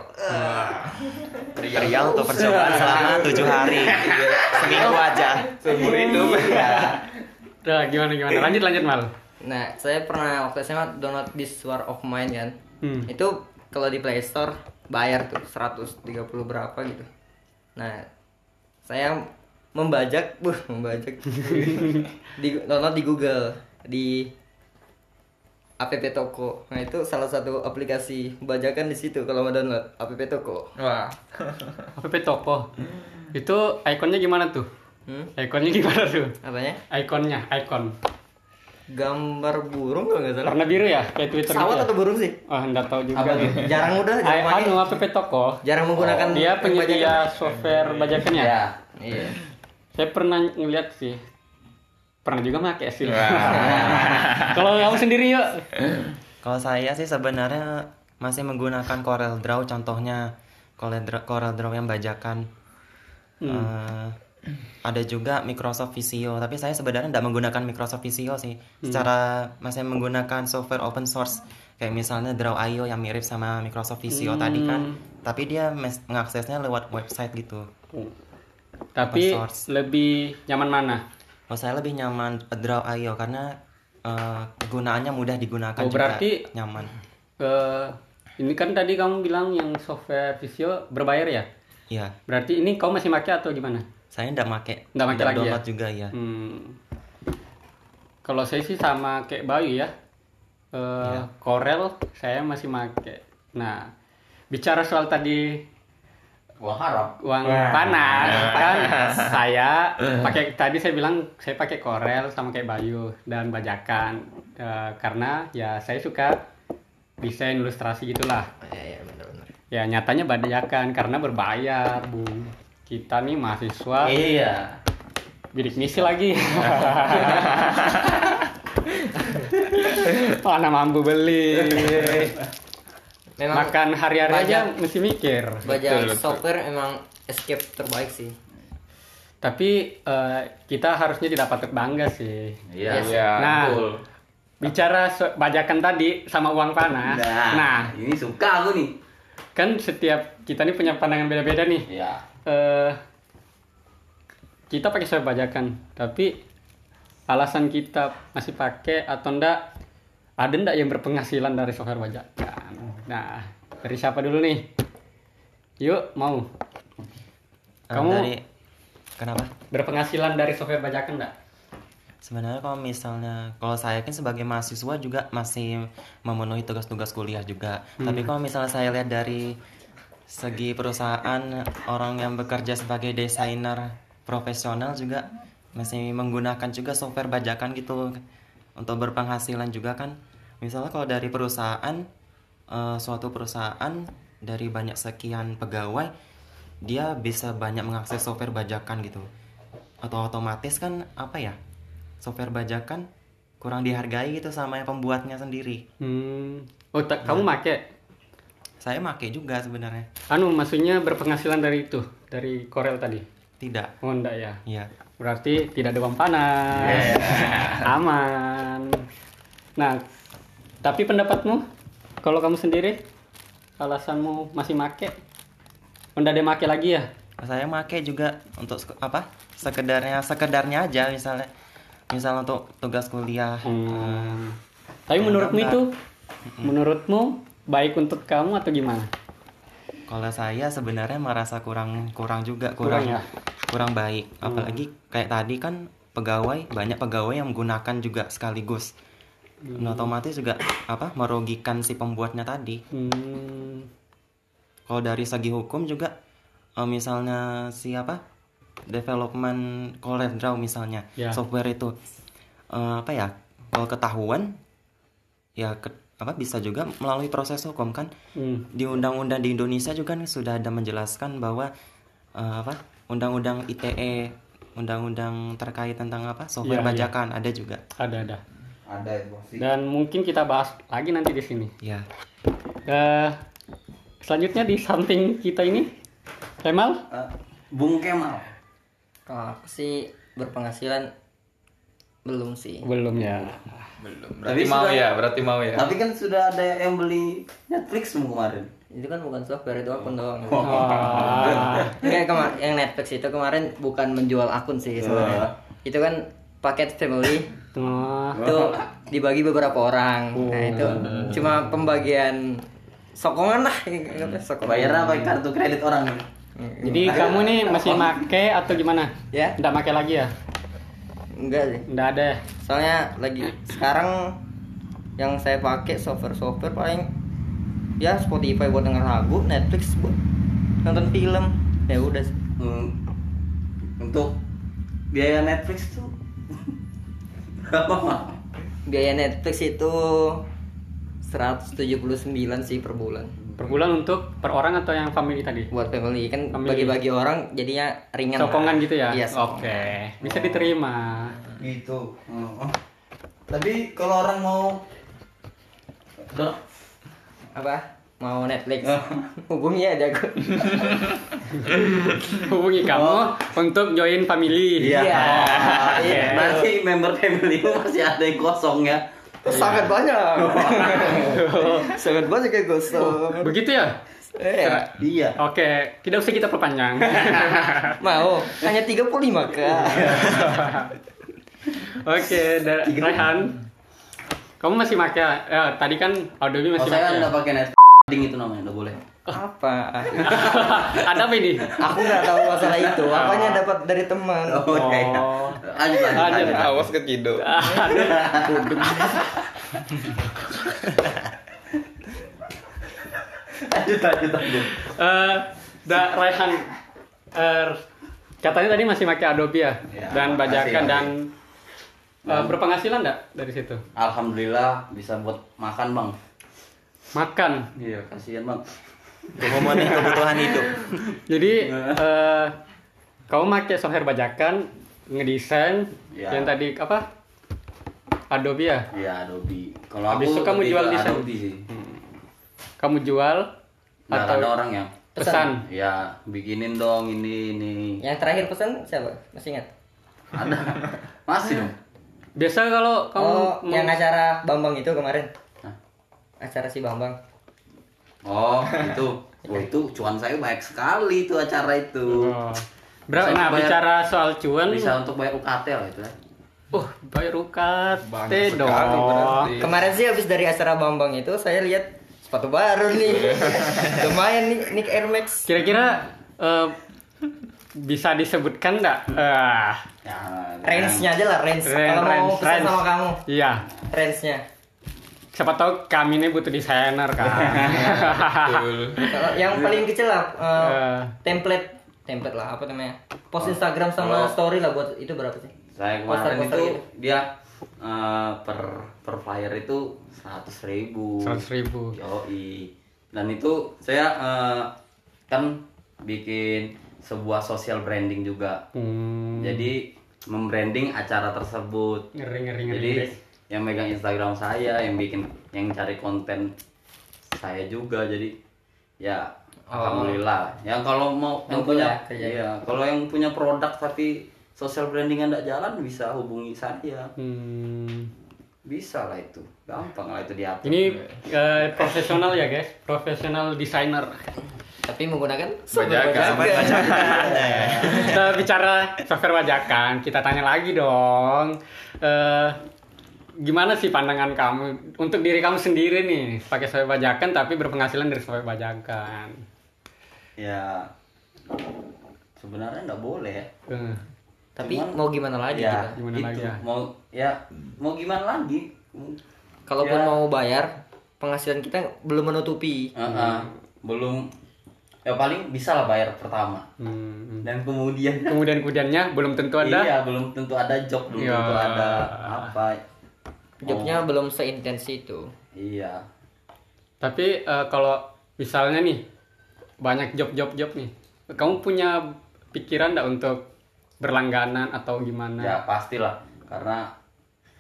Speaker 6: Trial atau percobaan selama tujuh hari Seminggu aja Iya.
Speaker 3: Seumur hidup.
Speaker 1: Nah, gimana gimana? Lanjut lanjut mal.
Speaker 5: Nah, saya pernah waktu SMA download This War of Mine kan.
Speaker 1: Hmm.
Speaker 5: Itu kalau di Play Store bayar tuh 130 berapa gitu. Nah, saya membajak, buh, membajak. di download di Google, di app toko. Nah, itu salah satu aplikasi bajakan di situ kalau mau download app toko.
Speaker 3: Wah.
Speaker 1: APP toko. Itu ikonnya gimana tuh?
Speaker 5: Hmm?
Speaker 1: Ikonnya gimana tuh?
Speaker 5: Apanya?
Speaker 1: Ikonnya, ikon.
Speaker 5: Gambar burung kalau nggak salah.
Speaker 1: Warna biru ya, kayak Twitter gitu.
Speaker 5: Pesawat
Speaker 1: ya?
Speaker 5: atau burung sih?
Speaker 1: Ah, enggak tahu juga.
Speaker 5: Apa tuh? Jarang udah,
Speaker 1: Ay,
Speaker 5: jarang pakai.
Speaker 1: anu APP toko.
Speaker 5: Jarang menggunakan
Speaker 1: Oh, Dia
Speaker 5: bajakan.
Speaker 1: penyedia software bajakan ya?
Speaker 4: Ya.
Speaker 5: Iya.
Speaker 1: Saya pernah ngeliat sih. Pernah juga make sih. Kalau kamu sendiri yuk.
Speaker 6: Kalau saya sih sebenarnya masih menggunakan Corel Draw contohnya Corel Draw, Corel Draw yang bajakan.
Speaker 1: Hmm.
Speaker 6: Eh, ada juga Microsoft Visio, tapi saya sebenarnya tidak menggunakan Microsoft Visio sih.
Speaker 1: Hmm.
Speaker 6: Secara masih menggunakan software open source kayak misalnya Draw.io yang mirip sama
Speaker 1: Hmm.
Speaker 6: Microsoft Visio tadi kan, tapi dia mes- mengaksesnya lewat website gitu.
Speaker 1: Tapi
Speaker 6: Open source.
Speaker 1: lebih nyaman mana?
Speaker 6: Kalau saya lebih nyaman Draw.io karena eh, kegunaannya mudah digunakan
Speaker 1: Oh, berarti-
Speaker 6: juga nyaman.
Speaker 1: Eh, ini kan tadi kamu bilang yang software visio berbayar ya?
Speaker 6: Iya,
Speaker 1: Berarti ini kamu masih make atau gimana?
Speaker 6: saya tidak pakai.
Speaker 1: Nggak pakai lagi ya?
Speaker 6: download juga ya.
Speaker 1: Hmm. Kalau saya sih sama kayak Bayu ya. Eh, Corel saya masih make. Nah, bicara soal tadi
Speaker 4: Uang haram.
Speaker 1: uang panas kan saya pakai tadi saya bilang saya pakai Corel sama kayak Bayu dan bajakan Eh, karena ya saya suka desain ilustrasi gitulah.
Speaker 5: Iya, iya, benar-benar.
Speaker 1: Ya nyatanya bajakan karena berbayar, Bu. Kita nih mahasiswa
Speaker 5: Eh.
Speaker 4: Iya.
Speaker 1: bidik misi lagi mana mampu beli
Speaker 5: Memang
Speaker 1: makan hari-hari aja
Speaker 5: Iya. Banyak.
Speaker 1: mesti mikir
Speaker 5: Bajak
Speaker 3: Betul, betul.
Speaker 5: software emang escape terbaik sih.
Speaker 1: tapi eh, kita harusnya tidak patut bangga sih
Speaker 4: Iya.
Speaker 3: Iya.
Speaker 1: Nah.
Speaker 3: betul.
Speaker 1: bicara so- bajakan tadi sama uang panas
Speaker 4: Nah,
Speaker 1: nah
Speaker 4: ini suka aku nih.
Speaker 1: kan setiap kita nih punya pandangan beda-beda nih
Speaker 4: Iya.
Speaker 1: eh kita pakai software bajakan tapi alasan kita masih pakai atau enggak ada enggak yang berpenghasilan dari software bajakan nah dari siapa dulu nih yuk mau
Speaker 6: Eh,
Speaker 1: Kamu-
Speaker 6: dari kenapa?
Speaker 1: berpenghasilan dari software bajakan enggak
Speaker 6: Sebenarnya kalau misalnya kalau saya kan sebagai mahasiswa juga masih memenuhi tugas-tugas kuliah juga. Tapi kalau misalnya saya lihat dari segi perusahaan orang yang bekerja sebagai desainer profesional juga masih menggunakan juga software bajakan gitu untuk berpenghasilan juga kan. Misalnya kalau dari perusahaan eh, suatu perusahaan dari banyak sekian pegawai dia bisa banyak mengakses software bajakan gitu. Atau otomatis kan apa ya? software bajakan kurang dihargai gitu sama yang pembuatnya sendiri.
Speaker 1: hmm oh ta- kamu make
Speaker 6: Saya make juga sebenarnya.
Speaker 1: anu maksudnya berpenghasilan dari itu dari Corel tadi
Speaker 6: Tidak.
Speaker 1: oh enggak ya
Speaker 6: Iya.
Speaker 1: Berarti tidak ada uang panas. Aman. Nah, tapi pendapatmu kalau kamu sendiri alasanmu masih make? Udah ada make lagi ya?
Speaker 6: Saya make juga untuk sek- apa? Sekedarnya sekedarnya aja misalnya misal untuk tugas kuliah. eh,
Speaker 1: Hmm. Tapi menurutmu itu menurutmu baik untuk kamu atau gimana?
Speaker 6: Kalau saya sebenarnya merasa kurang kurang juga kurang
Speaker 1: Kurang ya? Hmm.
Speaker 6: kurang baik. Apalagi kayak tadi kan pegawai banyak pegawai yang menggunakan juga sekaligus. Nah, otomatis juga apa merugikan si pembuatnya tadi.
Speaker 1: Hmm.
Speaker 6: kalau dari segi hukum juga eh, misalnya siapa development Corel Draw misalnya
Speaker 1: Ya.
Speaker 6: software itu eh, apa ya kalau ketahuan ya ke- apa bisa juga melalui proses hukum kan
Speaker 1: Hmm.
Speaker 6: di undang-undang di Indonesia juga kan sudah ada menjelaskan bahwa eh, apa undang-undang ITE undang-undang terkait tentang apa
Speaker 1: Iya,
Speaker 6: software
Speaker 1: iya.
Speaker 6: bajakan ada juga
Speaker 1: Ada ada.
Speaker 4: Ada itu sih.
Speaker 3: Nah.
Speaker 1: Dan mungkin kita bahas lagi nanti di sini.
Speaker 6: ya
Speaker 1: Eh, selanjutnya di samping kita ini Kemal
Speaker 4: Eh, Bung Kemal.
Speaker 5: Kalau aku sih berpenghasilan belum sih.
Speaker 1: belum ya.
Speaker 3: Belum.
Speaker 4: Tapi
Speaker 3: Berarti mau
Speaker 4: sudah-
Speaker 3: ya, berarti mau ya.
Speaker 4: Tapi kan sudah ada yang beli Netflix kemarin.
Speaker 5: Itu kan bukan software itu akun doang.
Speaker 3: Oh.
Speaker 1: Wah.
Speaker 5: Kayak kema- yang Netflix itu kemarin bukan menjual akun sih
Speaker 3: Oh.
Speaker 5: sebenarnya. Itu kan paket family
Speaker 1: Wah.
Speaker 5: itu dibagi beberapa orang.
Speaker 3: Oh,
Speaker 5: Nah itu cuma pembagian sokongan lah.
Speaker 3: Hmm.
Speaker 5: Sokongan.
Speaker 4: Bayar
Speaker 6: Hmm.
Speaker 4: apa kartu kredit orang ini?
Speaker 1: Jadi kamu nih masih make atau gimana?
Speaker 5: Ya.
Speaker 1: Nggak make lagi ya?
Speaker 5: Enggak sih.
Speaker 1: Nggak ada. ya?
Speaker 5: Soalnya lagi sekarang yang saya pakai software-software paling ya Spotify buat denger lagu, Netflix buat nonton film. Ya udah sih.
Speaker 4: Hmm. Untuk biaya Netflix tuh berapa mal?
Speaker 5: biaya Netflix itu 179 sih per bulan
Speaker 1: Per bulan untuk per orang atau yang family tadi?
Speaker 5: buat family kan
Speaker 1: Family.
Speaker 5: bagi-bagi orang jadinya ringan lah.
Speaker 1: Sokongan gitu ya?
Speaker 5: Iya, sokongan.
Speaker 1: Oke. Bisa diterima.
Speaker 4: Gitu. Tapi kalau orang mau Udah.
Speaker 5: apa mau Netflix
Speaker 1: Oh.
Speaker 5: hubungi aja aku
Speaker 1: Hubungi kamu untuk join family.
Speaker 4: Iya.
Speaker 5: Iya.
Speaker 4: Nanti member family lu masih ada yang kosong ya.
Speaker 5: sangat banyak sangat banyak kayak gosong
Speaker 1: Begitu ya?
Speaker 5: eh,
Speaker 4: Iya.
Speaker 1: Oke, tidak usah kita perpanjang.
Speaker 5: mau hanya 35 kak
Speaker 1: Oke, dari Rehan. Kamu masih pakai? eh, tadi kan Adobe
Speaker 4: Kalau
Speaker 1: masih
Speaker 4: Oh, saya
Speaker 1: pakai.
Speaker 4: nggak pakai Netflix ding itu namanya, nggak boleh.
Speaker 5: apa
Speaker 1: Ada apa ini?
Speaker 5: aku nggak tahu masalah itu aku hanya dapat dari teman
Speaker 4: Oh, iya, iya. Lanjut, lanjut,
Speaker 1: Lanjut.
Speaker 4: lanjut.
Speaker 3: Awas ke Kido.
Speaker 4: Lanjut, lanjut, lanjut.
Speaker 1: Eh, da Rehan. eh, katanya tadi masih pakai Adobe ya,
Speaker 4: Ya,
Speaker 1: dan bajakan
Speaker 4: masih,
Speaker 1: dan eh, berpenghasilan enggak dari situ?
Speaker 4: Alhamdulillah bisa buat makan bang.
Speaker 1: Makan.
Speaker 4: Iya, kasihan bang.
Speaker 6: untuk memenuhi kebutuhan hidup
Speaker 1: Jadi eh kamu pakai software bajakan, ngedesain
Speaker 4: Ya.
Speaker 1: yang tadi apa? Adobe ya.
Speaker 4: Iya Adobe. Kalau aku
Speaker 1: Habis itu kamu
Speaker 4: lebih
Speaker 1: jual
Speaker 4: ke
Speaker 1: di sana?
Speaker 4: Adobe sih.
Speaker 1: Kamu jual
Speaker 4: Nah,
Speaker 1: atau
Speaker 4: ada orang yang
Speaker 1: pesan?
Speaker 4: ya bikinin dong ini ini.
Speaker 5: yang terakhir pesan siapa masih ingat
Speaker 4: Ada. Masih dong.
Speaker 1: Biasa kalau kamu
Speaker 5: oh
Speaker 1: mau-
Speaker 5: yang acara Bambang itu kemarin
Speaker 4: Hah?
Speaker 5: acara si Bambang
Speaker 4: Oh, itu. Wah, itu cuan saya baik sekali itu acara itu.
Speaker 1: Oh. Berapa?
Speaker 4: Bisa
Speaker 1: Nah,
Speaker 4: bayar-
Speaker 1: bicara soal cuan,
Speaker 4: Bisa untuk bayar UKT lah itu.
Speaker 1: uh, bayar ukat,
Speaker 3: Banyak
Speaker 1: teh
Speaker 3: sekali
Speaker 1: dong.
Speaker 3: berarti.
Speaker 5: Kemarin sih habis dari acara Bambang itu saya lihat sepatu baru nih. Lumayan nih Nick Air Max.
Speaker 1: Kira-kira eh, bisa disebutkan nggak? Ah,
Speaker 4: Ya,
Speaker 5: Range-nya aja lah, range.
Speaker 1: range,
Speaker 5: Kalau mau
Speaker 1: range,
Speaker 5: pesan
Speaker 1: range.
Speaker 5: sama kamu,
Speaker 1: Iya.
Speaker 5: range-nya.
Speaker 1: Siapa tahu kami ini butuh desainer kan.
Speaker 3: Betul.
Speaker 5: Kalau yang paling kecil lah eh,
Speaker 1: Eh.
Speaker 5: template template lah apa namanya? Post Instagram sama story lah buat itu berapa sih?
Speaker 4: kan. Saya kemarin
Speaker 5: Poster-poster
Speaker 4: itu
Speaker 5: gitu.
Speaker 4: dia eh, per per flyer itu 100.000 ribu.
Speaker 1: Seratus ribu.
Speaker 4: Yoi. Dan itu saya eh, kan bikin sebuah social branding juga.
Speaker 1: Hmm,
Speaker 4: Jadi membranding acara tersebut.
Speaker 1: ngeri ngeri ngeri.
Speaker 4: Jadi yang megang Instagram saya, yang bikin, yang cari konten saya juga. Jadi ya alhamdulillah. Yang kalau mau yang
Speaker 5: Double
Speaker 4: punya
Speaker 5: ya kerjanya.
Speaker 4: iya, kalau yang punya produk tapi social brandingnya tidak jalan bisa hubungi saya.
Speaker 1: Hmm,
Speaker 4: Bisa lah itu. Gampang lah itu diatur.
Speaker 1: ini eh, profesional ya guys, profesional desainer.
Speaker 5: Tapi menggunakan
Speaker 3: Bajakan.
Speaker 1: Kita bicara software bajakan, kita tanya lagi dong. Eh, gimana sih pandangan kamu untuk diri kamu sendiri nih pakai software bajakan tapi berpenghasilan dari software bajakan?
Speaker 4: ya sebenarnya nggak boleh ya
Speaker 1: Eh,
Speaker 5: Tapi
Speaker 4: Cuman-
Speaker 5: mau gimana lagi
Speaker 4: ya
Speaker 5: kita?
Speaker 1: Gimana
Speaker 4: itu.
Speaker 1: lagi ya?
Speaker 4: mau ya mau gimana lagi
Speaker 5: Kalaupun
Speaker 4: Ya.
Speaker 5: mau bayar, penghasilan kita belum menutupi.
Speaker 4: Heeh. belum ya paling bisa lah bayar pertama
Speaker 1: Hmm.
Speaker 4: dan kemudian
Speaker 1: Kemudian kemudiannya belum tentu ada.
Speaker 4: iya belum tentu ada job belum
Speaker 1: Ya.
Speaker 4: tentu ada apa
Speaker 5: Jobnya belum seintens itu.
Speaker 4: iya
Speaker 1: Tapi eh, kalau misalnya nih banyak job-job job nih, kamu punya pikiran nggak untuk berlangganan atau gimana?
Speaker 4: ya pastilah karena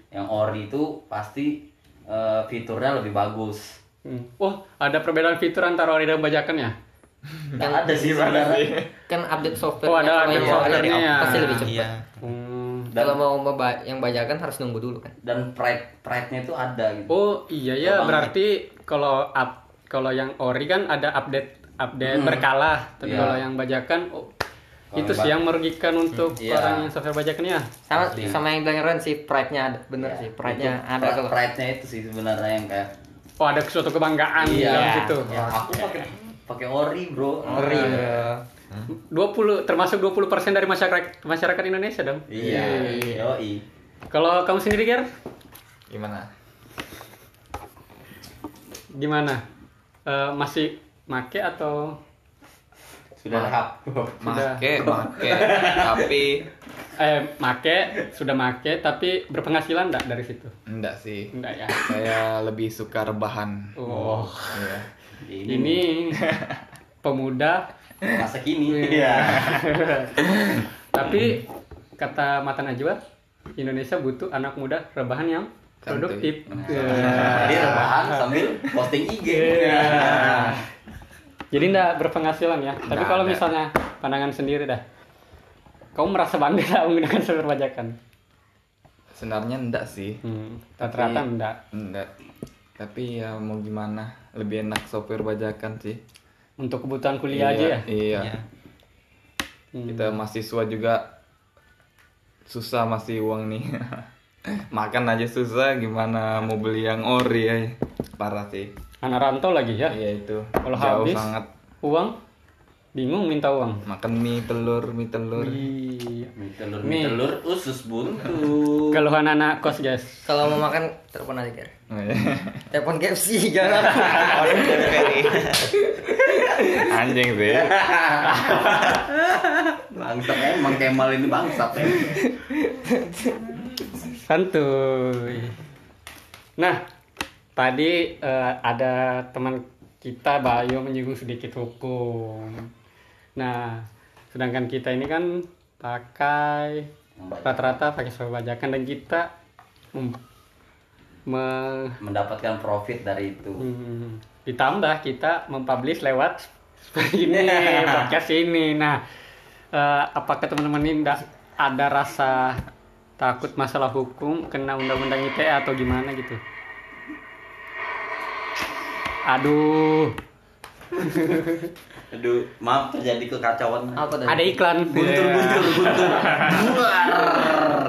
Speaker 4: yang ori itu pasti eh, fiturnya lebih bagus
Speaker 1: Hmm. Oh, ada perbedaan fitur antara ori dan bajakan ya?
Speaker 4: nggak ada sih sebenarnya
Speaker 5: Kan update software.
Speaker 1: Oh, ada update
Speaker 5: kalau yang ori
Speaker 1: softwarenya ya.
Speaker 5: Pasti lebih cepat.
Speaker 6: Iya.
Speaker 1: Hmm.
Speaker 4: Dan-
Speaker 5: Kalau mau meba- yang bajakan harus nunggu dulu kan.
Speaker 4: dan pride pride nya itu ada gitu
Speaker 1: Oh iya ya,
Speaker 4: Lubang.
Speaker 1: berarti kalau up kalau yang ori kan ada update update berkala, tapi
Speaker 4: Iya.
Speaker 1: kalau yang bajakan oh,
Speaker 4: Kalau
Speaker 1: itu
Speaker 4: yang
Speaker 1: sih
Speaker 4: ba-
Speaker 1: yang merugikan untuk
Speaker 4: Iya.
Speaker 1: orang yang software bajakan ya.
Speaker 5: Sama sama yang bilang Ren sih pride-nya ada. Bener
Speaker 4: Ya,
Speaker 5: sih, pride-nya
Speaker 4: itu
Speaker 5: ada
Speaker 4: pri-
Speaker 5: kalau
Speaker 4: pride-nya itu sih sebenarnya yang kayak
Speaker 1: Oh ada suatu kebanggaan di
Speaker 4: Iya.
Speaker 1: dalam situ.
Speaker 4: ya, aku pakai pakai ori bro
Speaker 5: ori.
Speaker 1: 20 termasuk 20% dari masyarakat masyarakat Indonesia dong.
Speaker 4: iya yoi
Speaker 1: Kalau kamu sendiri Ger,
Speaker 3: Gimana?
Speaker 1: gimana? Eh, masih make atau
Speaker 4: sudah lahap
Speaker 1: Sudah.
Speaker 3: Make, make. Tapi
Speaker 1: eh make sudah make tapi berpenghasilan enggak dari situ?
Speaker 3: enggak sih.
Speaker 1: Enggak ya.
Speaker 3: Saya lebih suka rebahan.
Speaker 1: Oh.
Speaker 3: Iya.
Speaker 1: Ini pemuda
Speaker 4: masa kini
Speaker 1: Iya. Tapi kata Mata Najwa, Indonesia butuh anak muda rebahan yang produktif. Iya.
Speaker 4: Jadi rebahan sambil posting Iya. IG.
Speaker 1: Jadi ndak berpenghasilan ya. Tapi
Speaker 3: Nggak
Speaker 1: kalau
Speaker 3: ada.
Speaker 1: misalnya pandangan sendiri dah. Kamu merasa bangga nggak menggunakan surat pajakan?
Speaker 3: Sebenarnya enggak sih.
Speaker 1: Hmm, rata-rata
Speaker 3: Tapi-
Speaker 1: enggak.
Speaker 3: Enggak. Tapi ya mau gimana? Lebih enak software bajakan sih.
Speaker 1: Untuk kebutuhan kuliah aja ya.
Speaker 3: Iya.
Speaker 6: Iya.
Speaker 1: Hmm.
Speaker 3: Kita mahasiswa juga susah masih uang nih. Makan aja susah, gimana mau beli yang ori ya? Parah sih.
Speaker 1: Anak rantau lagi ya.
Speaker 3: Iya itu.
Speaker 1: Kalau
Speaker 3: Jauh
Speaker 1: habis
Speaker 3: sangat.
Speaker 1: uang bingung minta uang.
Speaker 3: Makan mie telur, mie telur.
Speaker 1: Iya.
Speaker 4: Mie telur,
Speaker 1: Nih.
Speaker 4: mie telur, usus buntu.
Speaker 1: Keluhan anak kos guys.
Speaker 5: Kalau mau makan telepon aja Ger.
Speaker 3: Oh, iya.
Speaker 5: Telepon KFC jangan.
Speaker 6: Orang delivery.
Speaker 3: Anjing sih.
Speaker 4: Bangsat emang Kemal ini bangsat ya.
Speaker 1: Santuy. Nah, tadi eh, ada teman kita Bayu menyinggung sedikit hukum. Nah, sedangkan kita ini kan pakai rata-rata pakai surat bajakan dan kita mem- me-
Speaker 4: Mendapatkan profit dari itu.
Speaker 1: hmm, ditambah kita mempublish lewat ini podcast ini. Nah, eh, apakah teman-teman ini ndak ada rasa takut masalah hukum kena undang-undang ITE atau gimana gitu? Aduh,
Speaker 4: Aduh, maaf terjadi kekacauan.
Speaker 5: Apa tadi?
Speaker 1: ada iklan.
Speaker 4: Buntur, buntur. Buar.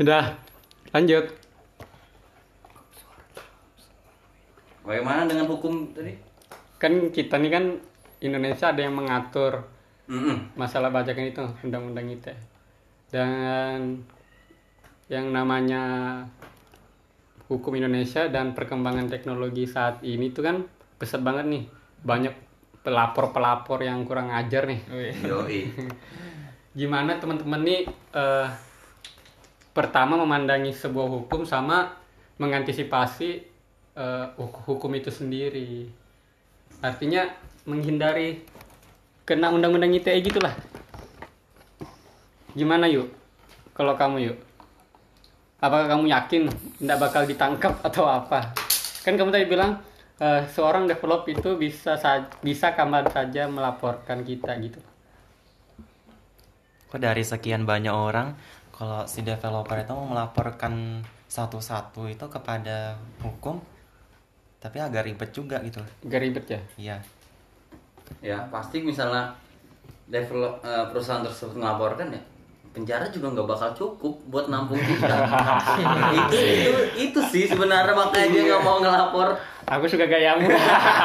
Speaker 1: Udah, lanjut.
Speaker 4: Bagaimana dengan hukum tadi?
Speaker 1: Kan kita nih kan Indonesia ada yang mengatur
Speaker 4: Mm-mm.
Speaker 1: masalah bajakan itu undang-undang ITE dan yang namanya hukum Indonesia dan perkembangan teknologi saat ini tuh kan pesat banget nih banyak pelapor-pelapor yang kurang ajar nih
Speaker 4: Yoi.
Speaker 1: gimana teman-teman nih eh, pertama memandangi sebuah hukum sama mengantisipasi eh, huk- hukum itu sendiri artinya menghindari kena undang-undang ITE gitulah gimana yuk kalau kamu yuk apakah kamu yakin tidak bakal ditangkap atau apa kan kamu tadi bilang eh, seorang develop itu bisa sa- bisa kapan saja melaporkan kita gitu
Speaker 6: Kok dari sekian banyak orang, kalau si developer itu melaporkan satu-satu itu kepada hukum, tapi agak ribet juga gitu.
Speaker 1: gak ribet ya
Speaker 6: Iya.
Speaker 4: Ya, pasti misalnya develop, eh, perusahaan tersebut melaporkan ya penjara juga nggak bakal cukup buat nampung kita itu, itu itu sih sebenarnya makanya dia nggak mau ngelapor
Speaker 1: Aku suka gayamu.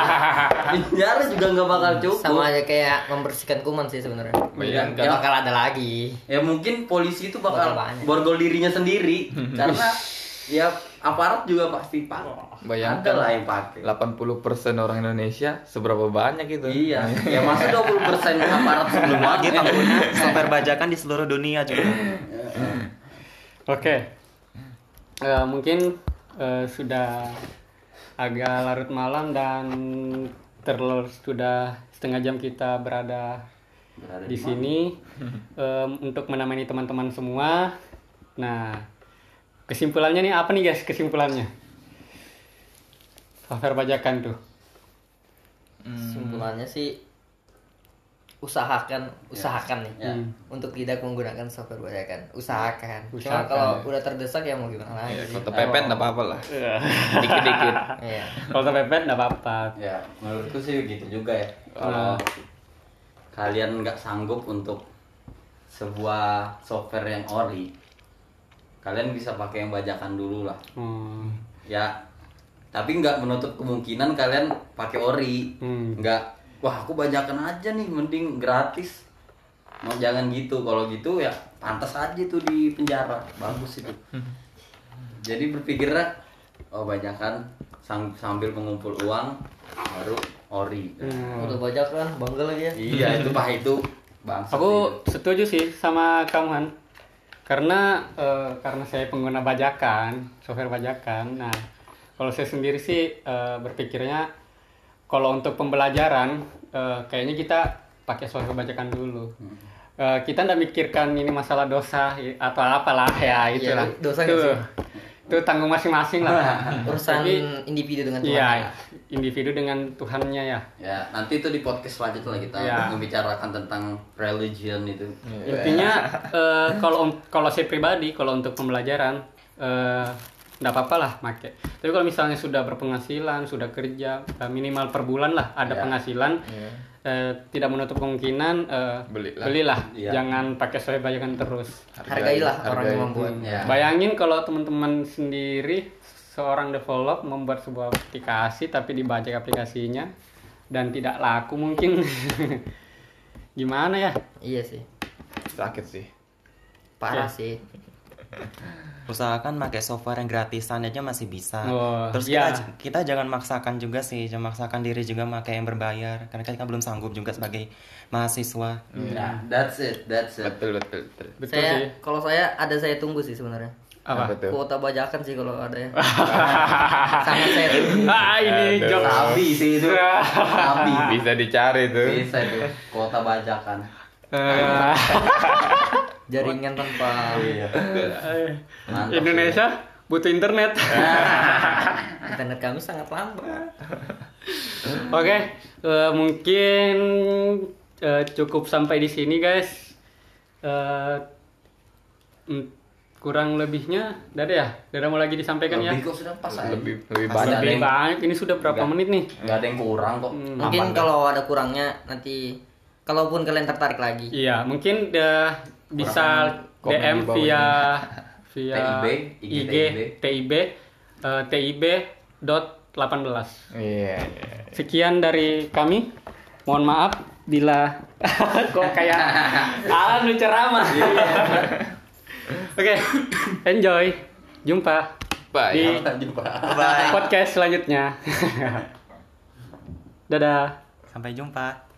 Speaker 4: penjara juga nggak bakal cukup
Speaker 5: sama aja kayak membersihkan kuman sih sebenarnya.
Speaker 3: Bayangkan.
Speaker 5: Ya bakal ada lagi.
Speaker 4: ya mungkin polisi itu bakal
Speaker 5: Bakal banyak.
Speaker 4: borgol dirinya sendiri karena ya aparat juga pasti pakai.
Speaker 3: Bayangkan.
Speaker 4: Ada Ya, lah yang pakai.
Speaker 3: 80% orang Indonesia seberapa banyak itu?
Speaker 4: Iya, ya masa 20 persen aparat sebelum
Speaker 6: Lagi
Speaker 4: lagi
Speaker 6: pengguna gitu, software bajakan di seluruh dunia juga.
Speaker 1: Oke, Eh, mungkin eh, sudah agak larut malam dan terlalu sudah setengah jam kita berada di sini Em, untuk menemani teman-teman semua. Nah, kesimpulannya nih apa nih guys kesimpulannya? Software bajakan tuh.
Speaker 5: Kesimpulannya sih usahakan usahakan nih
Speaker 4: Ya.
Speaker 5: untuk tidak menggunakan software bajakan usahakan cuma
Speaker 1: Usahakan,
Speaker 5: kalau udah terdesak ya mau gimana lagi
Speaker 3: Iya, Kota Pepet enggak apa-apa lah.
Speaker 1: Eh,
Speaker 3: Dikit-dikit.
Speaker 5: iya
Speaker 1: Kalau kepepet nggak apa-apa.
Speaker 4: Ya, menurutku sih gitu juga ya. Kalau kalian nggak sanggup untuk sebuah software yang ori, kalian bisa pakai yang bajakan dulu lah.
Speaker 1: Hmm.
Speaker 4: Ya, tapi nggak menutup kemungkinan kalian pakai ori.
Speaker 1: Hmm.
Speaker 4: Nggak, wah aku bajakan aja nih, mending gratis. Mau jangan gitu, kalau gitu ya pantas aja tuh di penjara, bagus itu. Jadi berpikirnya, oh bajakan sam- sambil mengumpul uang baru ori.
Speaker 5: udah bajakan bangga lagi ya
Speaker 4: Iya itu pak itu bangsa.
Speaker 1: Aku
Speaker 5: Iya.
Speaker 1: setuju sih sama kamu Han. Karena eh, karena saya pengguna bajakan, software bajakan. Nah, kalau saya sendiri sih eh, berpikirnya kalau untuk pembelajaran eh, kayaknya kita pakai software bajakan dulu.
Speaker 5: Hmm.
Speaker 1: Eh, kita nggak mikirkan ini masalah dosa i- atau apalah ya itulah.
Speaker 5: Iya, dosa nggak
Speaker 1: itu,
Speaker 5: sih?
Speaker 1: itu tanggung masing-masing lah.
Speaker 5: urusan
Speaker 1: Tapi,
Speaker 5: individu dengan Tuhan ya.
Speaker 1: Iya, individu dengan Tuhannya ya.
Speaker 4: Ya nanti itu di podcast selanjutnya kita
Speaker 1: Iya.
Speaker 4: membicarakan tentang religion itu.
Speaker 1: intinya eh, kalau kalau saya pribadi kalau untuk pembelajaran eh, nggak apa-apa lah make tapi kalau misalnya sudah berpenghasilan sudah kerja eh, minimal per bulan lah ada
Speaker 4: Ya.
Speaker 1: penghasilan eh, tidak menutup kemungkinan eh,
Speaker 3: Belilah.
Speaker 4: Iya.
Speaker 1: jangan pakai soal bajakan terus
Speaker 5: hargailah orang yang membuat
Speaker 4: Ya.
Speaker 1: bayangin kalau teman-teman sendiri seorang develop membuat sebuah aplikasi tapi dibajak aplikasinya dan tidak laku mungkin gimana ya
Speaker 5: iya sih
Speaker 3: Sakit sih.
Speaker 5: parah sih
Speaker 6: Usahakan pakai software yang gratisan aja masih bisa.
Speaker 1: Oh,
Speaker 6: Terus
Speaker 1: iya.
Speaker 6: kita, kita jangan maksakan juga sih, jangan maksakan diri juga pakai yang berbayar karena kita belum sanggup juga sebagai mahasiswa.
Speaker 4: Nah, that's it, that's it.
Speaker 3: Betul betul betul.
Speaker 1: betul
Speaker 5: saya
Speaker 1: sih
Speaker 5: kalau saya ada saya tunggu sih sebenarnya
Speaker 1: apa
Speaker 3: Betul.
Speaker 5: kuota bajakan sih kalau ada ya sangat saya tunggu
Speaker 1: Ah ini
Speaker 3: Aduh.
Speaker 1: jokes.
Speaker 4: Sabi sih itu.
Speaker 1: Iya.
Speaker 4: Sabi.
Speaker 3: Bisa dicari tuh.
Speaker 4: Bisa itu kota bajakan.
Speaker 1: Eh,
Speaker 5: jaringan tanpa
Speaker 4: Mantap.
Speaker 1: Indonesia butuh internet.
Speaker 5: internet kami sangat lambat
Speaker 1: Oke, eh, mungkin eh, cukup sampai di sini guys. Eh, mm, kurang lebihnya, Dada ya, Dada mau lagi disampaikan ya.
Speaker 4: Lebih kok sudah pas aja.
Speaker 3: Lebih lebih
Speaker 4: Pas
Speaker 3: banyak.
Speaker 4: ada
Speaker 1: Lebih
Speaker 4: yang-
Speaker 1: banyak. Ini sudah berapa menit nih?
Speaker 4: Nggak ada yang kurang kok.
Speaker 5: mungkin kalau ada kurangnya nanti kalaupun kalian tertarik lagi
Speaker 1: Iya, mungkin eh, bisa
Speaker 3: komen
Speaker 1: DM
Speaker 3: di bawah
Speaker 1: via via
Speaker 4: TIB,
Speaker 1: IG,
Speaker 4: TIB.
Speaker 1: TIB, eh, TIB dot 18.
Speaker 3: Iya.
Speaker 1: Sekian dari kami. Mohon maaf bila kok kayak Alan lu ceramah. Oke, enjoy. Jumpa
Speaker 3: Bye.
Speaker 1: di
Speaker 4: Jumpa.
Speaker 1: podcast selanjutnya. Dadah.
Speaker 6: Sampai jumpa.